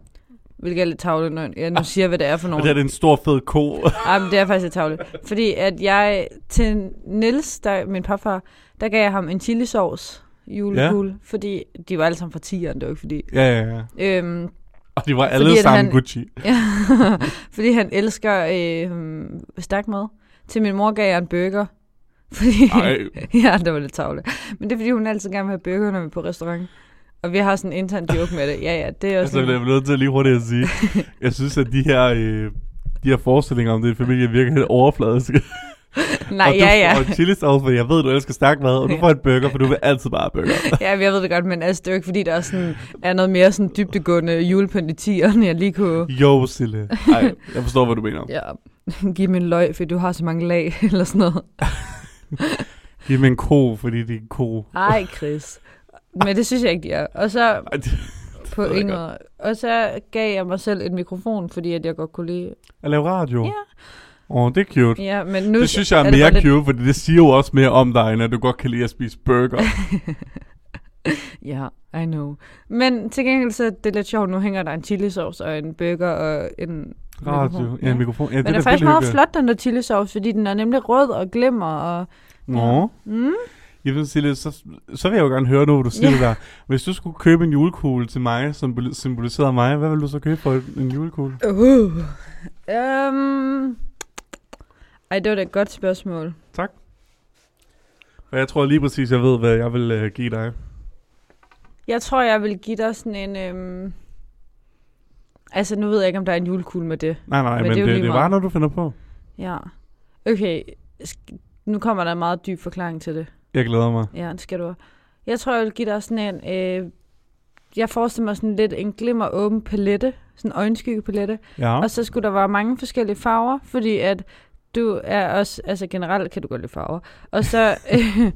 Speaker 2: Hvilket er lidt tavlet, når jeg nu siger, hvad det er for
Speaker 1: Og
Speaker 2: nogen.
Speaker 1: det er en stor fed ko.
Speaker 2: Ej, men det er faktisk lidt tavligt. Fordi at jeg til Nils, der, min papfar, der gav jeg ham en chilisauce julekugle, ja. fordi de var alle sammen fra tieren, det var ikke fordi...
Speaker 1: Ja, ja, ja.
Speaker 2: Øhm,
Speaker 1: Og de var
Speaker 2: Fordi
Speaker 1: alle
Speaker 2: at
Speaker 1: sammen
Speaker 2: han-
Speaker 1: Gucci.
Speaker 2: ja, fordi han elsker øh, stærk mad. Til min mor gav jeg en burger, fordi...
Speaker 1: Ej,
Speaker 2: ja, det var lidt tavle. Men det er, fordi hun altid gerne vil have burger, når vi er på restaurant. Og vi har sådan en intern joke med det. Ja, ja, det er også...
Speaker 1: altså, jeg bliver nødt til lige hurtigt at sige. Jeg synes, at de her, øh, de her forestillinger om det familie virker helt overfladiske.
Speaker 2: Nej,
Speaker 1: og du
Speaker 2: ja, ja.
Speaker 1: får en chili sauce, for jeg ved, du elsker stærk mad, og du
Speaker 2: Ja.
Speaker 1: får en burger, for du vil altid bare have burger.
Speaker 2: Ja, jeg ved det godt, men altså, det er jo ikke, fordi der er, sådan, er noget mere sådan dybdegående julepynt i tieren, jeg lige kunne
Speaker 1: Jo, Sille. Ej, jeg forstår, hvad du mener.
Speaker 2: ja, give min løg, fordi du har så mange lag, eller sådan noget.
Speaker 1: Giv mig en ko, fordi det er en ko.
Speaker 2: Ej, Chris. Men det synes jeg ikke, de er. Og så
Speaker 1: Ej, det-
Speaker 2: på
Speaker 1: ved jeg
Speaker 2: en
Speaker 1: godt.
Speaker 2: måde. Og så gav jeg mig selv en mikrofon, fordi at jeg godt kunne lide...
Speaker 1: At lave radio.
Speaker 2: Ja.
Speaker 1: Åh, oh, det er cute.
Speaker 2: Ja, men nu
Speaker 1: Det synes jeg er
Speaker 2: det
Speaker 1: mere
Speaker 2: bare lidt-
Speaker 1: cute, fordi det siger jo også mere om dig, end at du godt kan lide at spise burger.
Speaker 2: Ja, I know. Men til gengæld så er det lidt sjovt, nu hænger der en chilisauce og en burger og en...
Speaker 1: Radio.
Speaker 2: Mikrofon.
Speaker 1: Ja,
Speaker 2: Ja.
Speaker 1: en mikrofon. Ja,
Speaker 2: Men det er
Speaker 1: da
Speaker 2: faktisk
Speaker 1: vildt
Speaker 2: meget
Speaker 1: hyggeligt.
Speaker 2: flot, den der chilisauce, fordi den er nemlig rød og glimmer og...
Speaker 1: Nå.
Speaker 2: Mm.
Speaker 1: Jamen Silje, så, så vil jeg jo gerne høre nu, hvad du siger
Speaker 2: Ja.
Speaker 1: yeah. der. Hvis du skulle købe en julekugle til mig, som bl- symboliserede mig, hvad ville du så købe for en- en julekugle?
Speaker 2: Uh. Um. Ej, det var da et godt spørgsmål.
Speaker 1: Og jeg tror lige præcis, jeg ved, hvad jeg vil øh, give dig.
Speaker 2: Jeg tror, jeg vil give dig sådan en... Øhm... Altså, nu ved jeg ikke, om der er en julekugle med det.
Speaker 1: Nej, nej,
Speaker 2: Men
Speaker 1: men,
Speaker 2: det er
Speaker 1: men
Speaker 2: jo
Speaker 1: det,
Speaker 2: lige
Speaker 1: det er
Speaker 2: meget.
Speaker 1: bare noget, du finder på.
Speaker 2: Ja. Okay, sk- nu kommer der en meget dyb forklaring til det.
Speaker 1: Jeg glæder mig.
Speaker 2: Ja, det skal du. Jeg tror, jeg vil give dig sådan en... Øh... Jeg forestiller mig sådan lidt en glimmer åben palette. Sådan en øjenskyggepalette.
Speaker 1: Ja.
Speaker 2: Og så skulle der være mange forskellige farver, fordi at du er også, altså generelt kan du godt lide farver. Og så øh,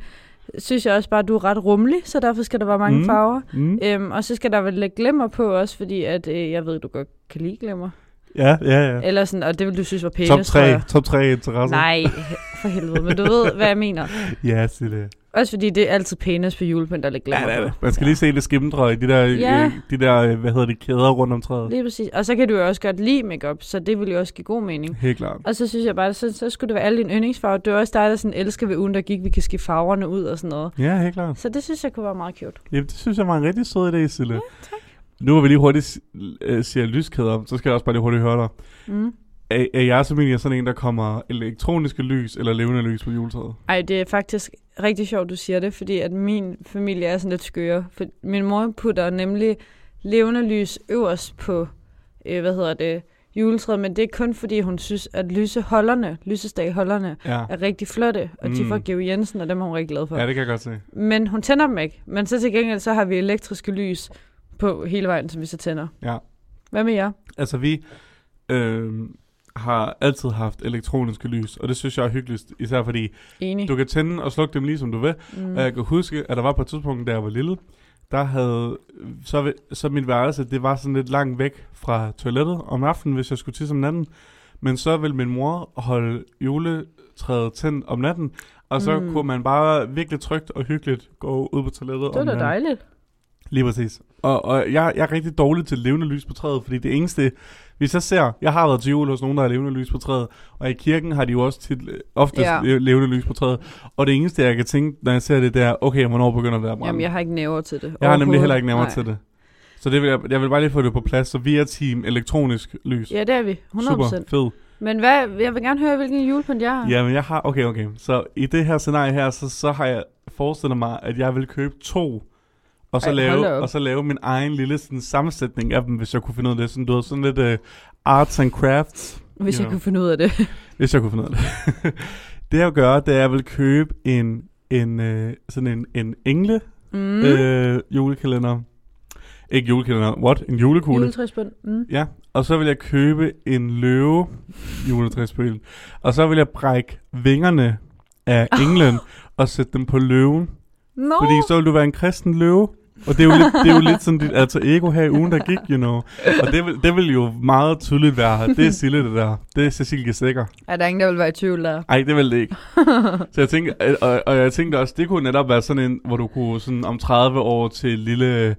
Speaker 2: synes jeg også bare, at du er ret rummelig, så derfor skal der være mange
Speaker 1: Mm.
Speaker 2: mm. farver.
Speaker 1: Mm.
Speaker 2: Øhm, og så skal der vel lidt glimmer på også, fordi at, øh, jeg ved, du godt kan lide glimmer.
Speaker 1: Ja, ja, ja.
Speaker 2: Eller sådan, og Øh, det vil du synes var pænt.
Speaker 1: Top 3, top 3 interesser.
Speaker 2: Nej, for helvede, men du ved, hvad jeg mener.
Speaker 1: Ja, Silje.
Speaker 2: Også fordi det er altid penis på julepynt, der er lidt glimmer på.
Speaker 1: Man skal lige se det skimtre i de der,
Speaker 2: Ja.
Speaker 1: øh, de der øh, hvad hedder det, kæder rundt om træet.
Speaker 2: Lige præcis. Og så kan du jo også godt lide makeup, så det vil jo også give god mening.
Speaker 1: Helt klart.
Speaker 2: Og så synes jeg bare, så, så skulle det være alle dine yndlingsfarver. Det var også dig, der sådan elsker ved ugen, der gik, vi kan skifte farverne ud og sådan noget.
Speaker 1: Ja, helt klart.
Speaker 2: Så det synes jeg kunne være meget cute.
Speaker 1: Jamen, det synes jeg var en rigtig sød idé, Sille. Ja, tak. Nu hvor vi lige hurtigt s- øh, siger lyskæder, så skal jeg også bare lige hurtigt høre dig.
Speaker 2: Mm.
Speaker 1: Er, er jeg som egentlig sådan en, der kommer elektroniske lys eller levende lys på juletræet?
Speaker 2: Ej, det er faktisk rigtig sjovt, du siger det, fordi at min familie er sådan lidt skøre. For min mor putter nemlig levende lys øverst på, øh, hvad hedder det, juletræet, men det er kun fordi, hun synes, at lyseholderne, lysestagholderne,
Speaker 1: Ja.
Speaker 2: er rigtig flotte, og de
Speaker 1: Mm.
Speaker 2: får Geo Jensen, og dem er hun rigtig glad for.
Speaker 1: ja, det kan jeg godt se.
Speaker 2: Men hun tænder dem ikke. Men så til gengæld, så har vi elektriske lys på hele vejen, som vi så tænder.
Speaker 1: Ja.
Speaker 2: Hvad med jer?
Speaker 1: Altså, vi øh, har altid haft elektroniske lys, og det synes jeg er hyggeligst, især fordi
Speaker 2: Enig.
Speaker 1: du øh, kan tænde og slukke dem lige som du vil.
Speaker 2: mm.
Speaker 1: Og jeg kan huske, at der var på et tidspunkt, da jeg var lille, der havde, så, ved- så mit værelse, det var sådan lidt langt væk fra toilettet om aftenen, hvis jeg skulle tisse om natten. Men så ville min mor holde juletræet tændt om natten, og så
Speaker 2: Mm.
Speaker 1: mm. kunne man bare virkelig trygt og hyggeligt gå ud på toilettet
Speaker 2: det var
Speaker 1: om øh,
Speaker 2: da
Speaker 1: natten.
Speaker 2: dejligt.
Speaker 1: Lige præcis. Og, og jeg, jeg er rigtig dårlig til levende lys på træet, fordi det eneste, hvis jeg ser, jeg har været til jul hos nogen, der har levende lys på træet, og i kirken har de jo også tit, ofte
Speaker 2: Ja.
Speaker 1: ja. levende lys på træet, og det eneste, jeg kan tænke, når jeg ser det, det er, okay, hvornår begynder det at brænde?
Speaker 2: Jamen, jeg har ikke næver til det.
Speaker 1: jeg har nemlig
Speaker 2: overhovedet.
Speaker 1: heller ikke nærmere
Speaker 2: Nej.
Speaker 1: til det. Så det vil jeg, jeg vil bare lige få det på plads, så vi er team elektronisk lys.
Speaker 2: Ja, det er vi. 100%.
Speaker 1: Super fed.
Speaker 2: Men hvad, jeg vil gerne høre, hvilken julepynt jeg har.
Speaker 1: Ja, men jeg har, okay, okay. Så i det her scenarie her, så, så har jeg forestillet mig, at jeg vil købe to, og så,
Speaker 2: Ej,
Speaker 1: Ej,
Speaker 2: hold da
Speaker 1: lave,
Speaker 2: op.
Speaker 1: og så lave min egen lille sådan, sammensætning af dem, hvis jeg kunne finde ud af det. Sådan, du ved, sådan lidt uh, arts and crafts,
Speaker 2: Hvis jeg
Speaker 1: Ja.
Speaker 2: kunne finde ud af det.
Speaker 1: hvis jeg kunne finde ud af det. det jeg vil gøre, det er, at jeg vil købe en, en, uh, sådan en, en engle
Speaker 2: Mm.
Speaker 1: mm. øh, julekalender. Ikke julekalender, what? En julekugle.
Speaker 2: Juletræspynt. Mm.
Speaker 1: Ja, og så vil jeg købe en løve juletræspøl. Og så vil jeg brække vingerne af englen og sætte dem på løven.
Speaker 2: No.
Speaker 1: Fordi så vil du være en kristen løve. Og det er jo lidt, det er jo lidt sådan dit alter ego her i ugen, der gik, you know. Og det vil, det vil jo meget tydeligt være her. Det er Sille, det der. Det er Cecilie Sikker.
Speaker 2: Er der ingen, der vil være i tvivl der?
Speaker 1: Ej, det vil det ikke. Så jeg tænkte, øh, og, og jeg tænkte også, det kunne netop være sådan en, hvor du kunne sådan om 30 år til lille,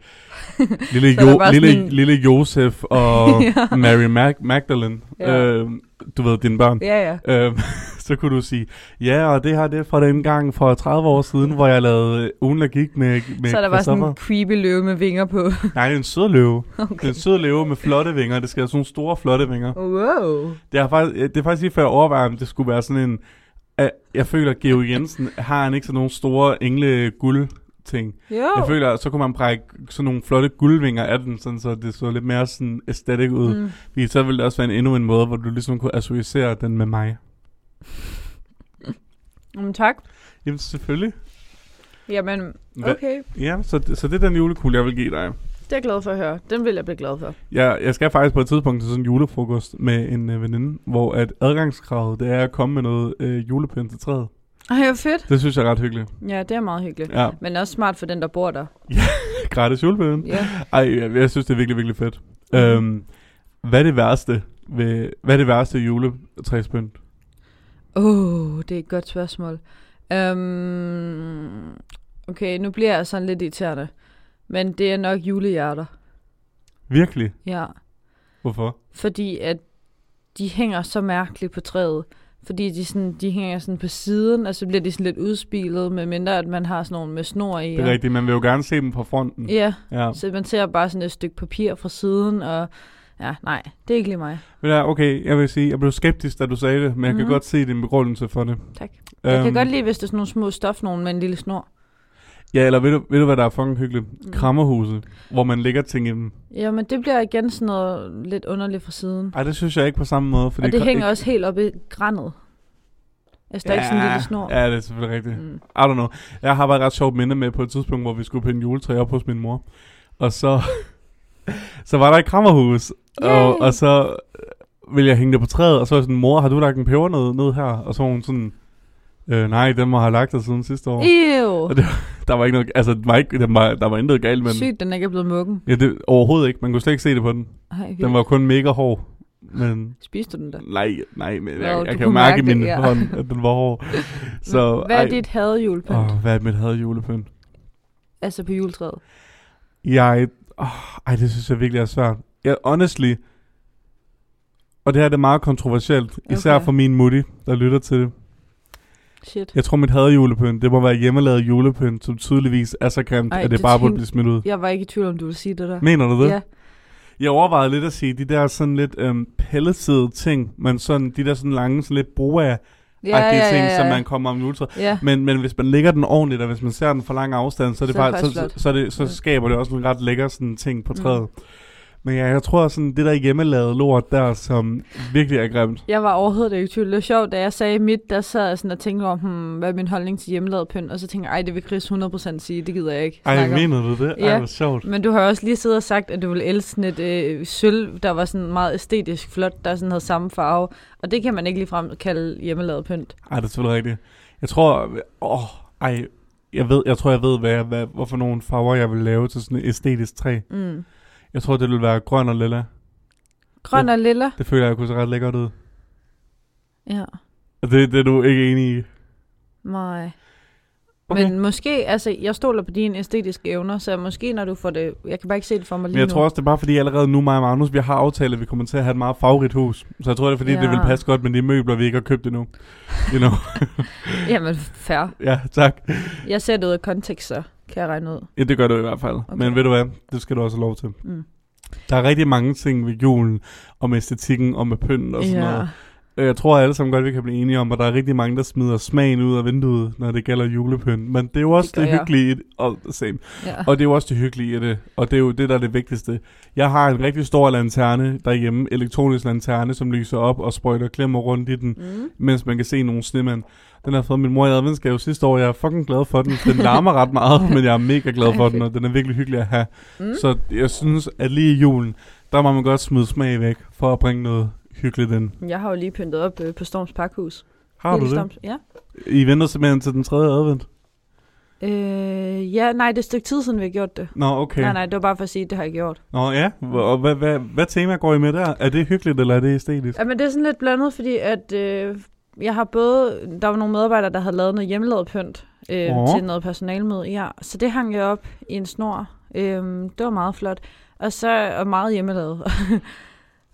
Speaker 1: lille,
Speaker 2: Så er der
Speaker 1: jo,
Speaker 2: bare
Speaker 1: lille,
Speaker 2: sådan en-
Speaker 1: lille Josef og Mary Mag- Magdalene,
Speaker 2: Ja.
Speaker 1: øh, du ved, dine børn.
Speaker 2: Ja, ja.
Speaker 1: Øh, så kunne du sige, ja, og det her det er fra den gang for 30 år siden, hvor jeg lavede ugen, der gik med, med
Speaker 2: så er der bare sådan en creepy løve med vinger på.
Speaker 1: Nej, det er en sød løve. Det er
Speaker 2: Okay.
Speaker 1: en sød løve med flotte vinger. Det skal have sådan nogle store, flotte vinger.
Speaker 2: Wow.
Speaker 1: Det er faktisk, det er faktisk lige før jeg overvejer, om det skulle være sådan en... at Jeg føler, at Geo Jensen har han ikke sådan nogle store engle guld ting.
Speaker 2: Jo.
Speaker 1: Jeg føler, at så kunne man brække sådan nogle flotte guldvinger af den, sådan, så det så lidt mere sådan æstetik ud. Mm.
Speaker 2: Mm.
Speaker 1: Fordi så ville det også være en, endnu en måde, hvor du ligesom kunne associere den med mig.
Speaker 2: Mm, tak.
Speaker 1: Jamen selvfølgelig.
Speaker 2: Jamen,
Speaker 1: Hva-
Speaker 2: okay.
Speaker 1: Ja, så, det- så det er den julekugle, jeg vil give dig.
Speaker 2: Det er jeg glad for at høre. Den vil jeg blive glad for.
Speaker 1: Jeg, jeg skal faktisk på et tidspunkt til sådan en julefrokost med en øh, veninde, hvor at adgangskravet det er at komme med noget øh, julepind til træet.
Speaker 2: Ej, hvor fedt.
Speaker 1: Det synes jeg er ret hyggeligt.
Speaker 2: Ja, det er meget hyggeligt.
Speaker 1: Ja,
Speaker 2: Men også smart for den, der bor der.
Speaker 1: gratis julepind.
Speaker 2: Ja.
Speaker 1: Ej, jeg, jeg synes, det er virkelig, virkelig fedt.
Speaker 2: Mhm.
Speaker 1: Øhm, hvad er det værste ved, hvad er det værste juletræspynt?
Speaker 2: Åh, oh, det er et godt spørgsmål. Um, okay, nu bliver jeg sådan lidt irriterende. Men det er nok julehjerter.
Speaker 1: Virkelig?
Speaker 2: Ja.
Speaker 1: Hvorfor?
Speaker 2: fordi at de hænger så mærkeligt på træet. Fordi de, sådan, de hænger sådan på siden, og så bliver de sådan lidt udspilet, medmindre at man har sådan nogle med snor i.
Speaker 1: Det er
Speaker 2: og-
Speaker 1: rigtigt, man vil jo gerne se dem fra fronten.
Speaker 2: Ja,
Speaker 1: Ja.
Speaker 2: så man ser bare sådan et stykke papir fra siden, og ja, nej, det er ikke lige mig.
Speaker 1: Men ja, okay, jeg vil sige, jeg blev skeptisk, da du sagde det, men jeg kan
Speaker 2: Mhm.
Speaker 1: godt se din begrundelse for det.
Speaker 2: Tak. Jeg
Speaker 1: Øhm.
Speaker 2: kan godt lide, hvis det er sådan nogle små stofnogen med en lille snor.
Speaker 1: Ja, eller ved du, ved du hvad der er fucking hyggeligt?
Speaker 2: Mm.
Speaker 1: Krammerhuse, hvor man lægger ting i dem.
Speaker 2: Ja, men det bliver igen sådan noget lidt underligt fra siden.
Speaker 1: Ej, det synes jeg ikke på samme måde. Fordi
Speaker 2: og det
Speaker 1: kra-
Speaker 2: hænger også helt oppe i granet. Altså, der er ikke sådan en lille snor.
Speaker 1: Ja, det er selvfølgelig rigtigt.
Speaker 2: Mm.
Speaker 1: I don't know. Jeg har bare et ret sjovt minde med på et tidspunkt, hvor vi skulle pinde juletræ op hos min mor. Og så, så var der et krammerhus, og,
Speaker 2: Yay!
Speaker 1: og så ville jeg hænge det på træet, og så var jeg sådan, mor, har du lagt en pebernød ned her? Og så var hun sådan, øh, nej, den må have lagt der siden sidste år.
Speaker 2: Ew,
Speaker 1: Og det- Der var ikke noget, altså, den var ikke, den var, der var intet galt med den.
Speaker 2: sygt, den ikke er blevet muggen.
Speaker 1: Ja, det, overhovedet ikke. Man kunne slet ikke se det på den.
Speaker 2: Ej,
Speaker 1: Den var kun mega hård. Men
Speaker 2: Spiste du den der?
Speaker 1: nej, nej, men
Speaker 2: Nå,
Speaker 1: jeg,
Speaker 2: du
Speaker 1: jeg kan
Speaker 2: kunne
Speaker 1: mærke i
Speaker 2: mærke det,
Speaker 1: min
Speaker 2: ja.
Speaker 1: hånd, at den var hård. Så,
Speaker 2: Hvad
Speaker 1: ej.
Speaker 2: er dit hadjulepynt?
Speaker 1: Åh, hvad er mit havde julepynt?
Speaker 2: Altså på juletræet.
Speaker 1: Jeg... Oh, ej, det synes jeg virkelig er svært. Jeg, honestly... Og det her det er meget kontroversielt. Især
Speaker 2: Okay.
Speaker 1: for min mutti, der lytter til det.
Speaker 2: Shit.
Speaker 1: Jeg tror, mit hadjulepynt, det må være hjemmelavet julepynt, som tydeligvis er så grimt,
Speaker 2: Ej,
Speaker 1: at det
Speaker 2: det
Speaker 1: bare burde
Speaker 2: tænk-
Speaker 1: blive smidt ud.
Speaker 2: Jeg var ikke i tvivl om, du ville sige det der.
Speaker 1: Mener du det?
Speaker 2: Ja.
Speaker 1: Jeg overvejede lidt at sige, de der sådan lidt øhm, pelletede ting, men sådan, de der sådan lange, sådan lidt broa
Speaker 2: Ja, ja, ja,
Speaker 1: ting,
Speaker 2: ja,
Speaker 1: som
Speaker 2: ja.
Speaker 1: man kommer om juletræet.
Speaker 2: ja.
Speaker 1: Men, men hvis man lægger den ordentligt, og hvis man ser den for lang afstand, så, er det
Speaker 2: Så er det
Speaker 1: bare, så,
Speaker 2: faktisk
Speaker 1: så,
Speaker 2: flot.
Speaker 1: så, er det, så
Speaker 2: Ja.
Speaker 1: skaber det også nogle ret lækker sådan, ting på
Speaker 2: Mm.
Speaker 1: træet. Mm. Men ja, jeg tror sådan, det der hjemmelavede lort der, som virkelig er grimt.
Speaker 2: Jeg var overhovedet ikke i tvivl. Det var sjovt, da jeg sagde mit, der sad jeg sådan og tænkte om, hmm, hvad er min holdning til hjemmelavet pynt? Og så tænkte jeg, ej, det vil Chris 100% sige, det gider jeg ikke
Speaker 1: Ej,
Speaker 2: snakke om.
Speaker 1: mener du det? Ej,
Speaker 2: Ja.
Speaker 1: hvor sjovt.
Speaker 2: Men du har også lige siddet og sagt, at du ville elske sådan et øh, sølv, der var sådan meget æstetisk flot, der sådan havde samme farve. Og det kan man ikke ligefrem kalde hjemmelavet pynt.
Speaker 1: Ej, det er selvfølgelig rigtigt. Jeg tror, åh, ej, jeg, ved, jeg tror, jeg ved, hvad, jeg- hvad, hvorfor nogle farver, jeg vil lave til sådan et æstetisk træ.
Speaker 2: Mm.
Speaker 1: Jeg tror, det vil være grøn og lilla.
Speaker 2: Grøn og lilla.
Speaker 1: Det føler jeg kunne se ret lækkert ud.
Speaker 2: Ja.
Speaker 1: Og Det, det er du ikke enig i.
Speaker 2: Nej.
Speaker 1: Okay.
Speaker 2: Okay. Men måske, altså jeg stoler på dine æstetiske evner, så måske når du får det, jeg kan bare ikke se det for mig lige
Speaker 1: Men jeg
Speaker 2: nu.
Speaker 1: tror også, det er bare fordi allerede nu, mig og Magnus, vi har aftalt, at vi kommer til at have et meget farverigt hus. Så jeg tror, det er fordi, ja.
Speaker 2: Ja.
Speaker 1: det vil passe godt med de møbler, vi ikke har købt endnu. You know.
Speaker 2: Jamen fair.
Speaker 1: ja, tak.
Speaker 2: Jeg ser det ud af kontekst, så kan jeg regne ud.
Speaker 1: Ja, det gør du i hvert fald. Okay.
Speaker 2: Okay.
Speaker 1: Men ved du hvad, det skal du også have lov til.
Speaker 2: Mm.
Speaker 1: Der er rigtig mange ting ved julen, og med æstetikken, og med pynt og sådan ja. noget.
Speaker 2: Ja.
Speaker 1: Øh, Jeg tror alle sammen godt, vi kan blive enige om, at der er rigtig mange, der smider smagen ud af vinduet, når det gælder julepynt. Men det er jo også
Speaker 2: gør
Speaker 1: det, det
Speaker 2: jeg.
Speaker 1: hyggelige i det. Og, same.
Speaker 2: ja.
Speaker 1: Og det er jo også det hyggelige i det, og det er jo det, der er det vigtigste. Jeg har en rigtig stor lanterne derhjemme, elektronisk lanterne, som lyser op og sprøjter klemmer rundt i den,
Speaker 2: Mm.
Speaker 1: mens man kan se nogle snemænd. Den har fået min mor i adventsgave sidste år, jeg er fucking glad for den. Den larmer ret meget, men jeg er mega glad for den, og den er virkelig hyggelig at have.
Speaker 2: Mm.
Speaker 1: Så jeg synes, at lige i julen, der må man godt smide smag væk, for at bringe noget hyggeligt ind.
Speaker 2: Jeg har jo lige pyntet op øh, på Storms Pakhus.
Speaker 1: Har du
Speaker 2: Hele
Speaker 1: det?
Speaker 2: Storms- Ja.
Speaker 1: I venter simpelthen til den tredje advent?
Speaker 2: Øh, ja, nej, det er et stykke tid siden, vi har gjort det.
Speaker 1: Nå, okay.
Speaker 2: Okay. Nej, nej, det var bare for at sige, at det har jeg gjort.
Speaker 1: Nå, ja. Hvor- Og hvad, hvad, hvad tema går I med der? Er det hyggeligt, eller er det æstetisk?
Speaker 2: Ja, men det er sådan lidt blandet, fordi at øh, jeg har både... Der var nogle medarbejdere, der havde lavet noget hjemmelavet pynt øh,
Speaker 1: Åh.
Speaker 2: til noget personalmøde. Ja, så det hang jeg op Øhm, i en snor. Øh, det var meget flot. Og så og meget hjemmelavet.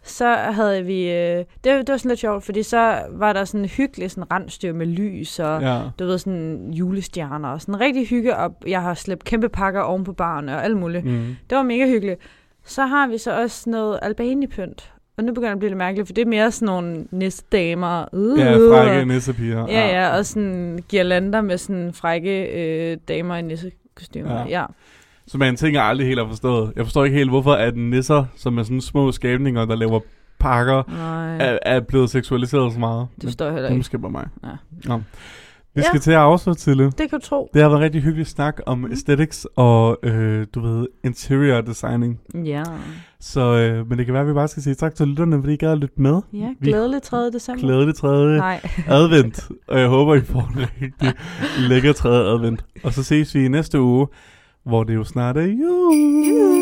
Speaker 2: så havde vi... Øh, det, det var sådan lidt sjovt, fordi så var der sådan en hyggelig sådan rensdyr med lys og
Speaker 1: Ja.
Speaker 2: du ved, sådan julestjerner og sådan rigtig hygge, og jeg har slæbt kæmpe pakker oven på baren og alt muligt.
Speaker 1: Mm.
Speaker 2: Det var mega hyggeligt. Så har vi så også noget albanipynt, og nu begynder det at blive lidt mærkeligt, for det er mere sådan nogle nissedamer. Uh,
Speaker 1: Ja, frække nissepiger. Ah.
Speaker 2: Ja, ja, og sådan girlander med sådan frække øh, damer i nissekostymer.
Speaker 1: Ja.
Speaker 2: Ja. ja.
Speaker 1: Som er en ting, jeg aldrig helt har forstået. Jeg forstår ikke helt, hvorfor at nisser, som er sådan små skabninger, der laver pakker,
Speaker 2: Nej,
Speaker 1: er, er blevet seksualiseret så meget.
Speaker 2: det forstår jeg heller
Speaker 1: det er
Speaker 2: ikke.
Speaker 1: måske bare mig.
Speaker 2: Ja.
Speaker 1: Nå. Vi
Speaker 2: Ja.
Speaker 1: skal til at afslutte til det.
Speaker 2: Det kan du tro.
Speaker 1: Det har været en rigtig hyggelig snak om
Speaker 2: Mhm.
Speaker 1: aesthetics og, øh, du ved, interior designing.
Speaker 2: Ja.
Speaker 1: Så, øh, men det kan være, at vi bare skal sige tak til lytterne, fordi I gad at lytte med.
Speaker 2: Ja,
Speaker 1: Vi-
Speaker 2: glædelig 3. december.
Speaker 1: Glædelig tredje
Speaker 2: Nej,
Speaker 1: advent, og jeg håber, I får en rigtig lækker tredje advent. Og så ses vi i næste uge, hvor det jo snart er jul.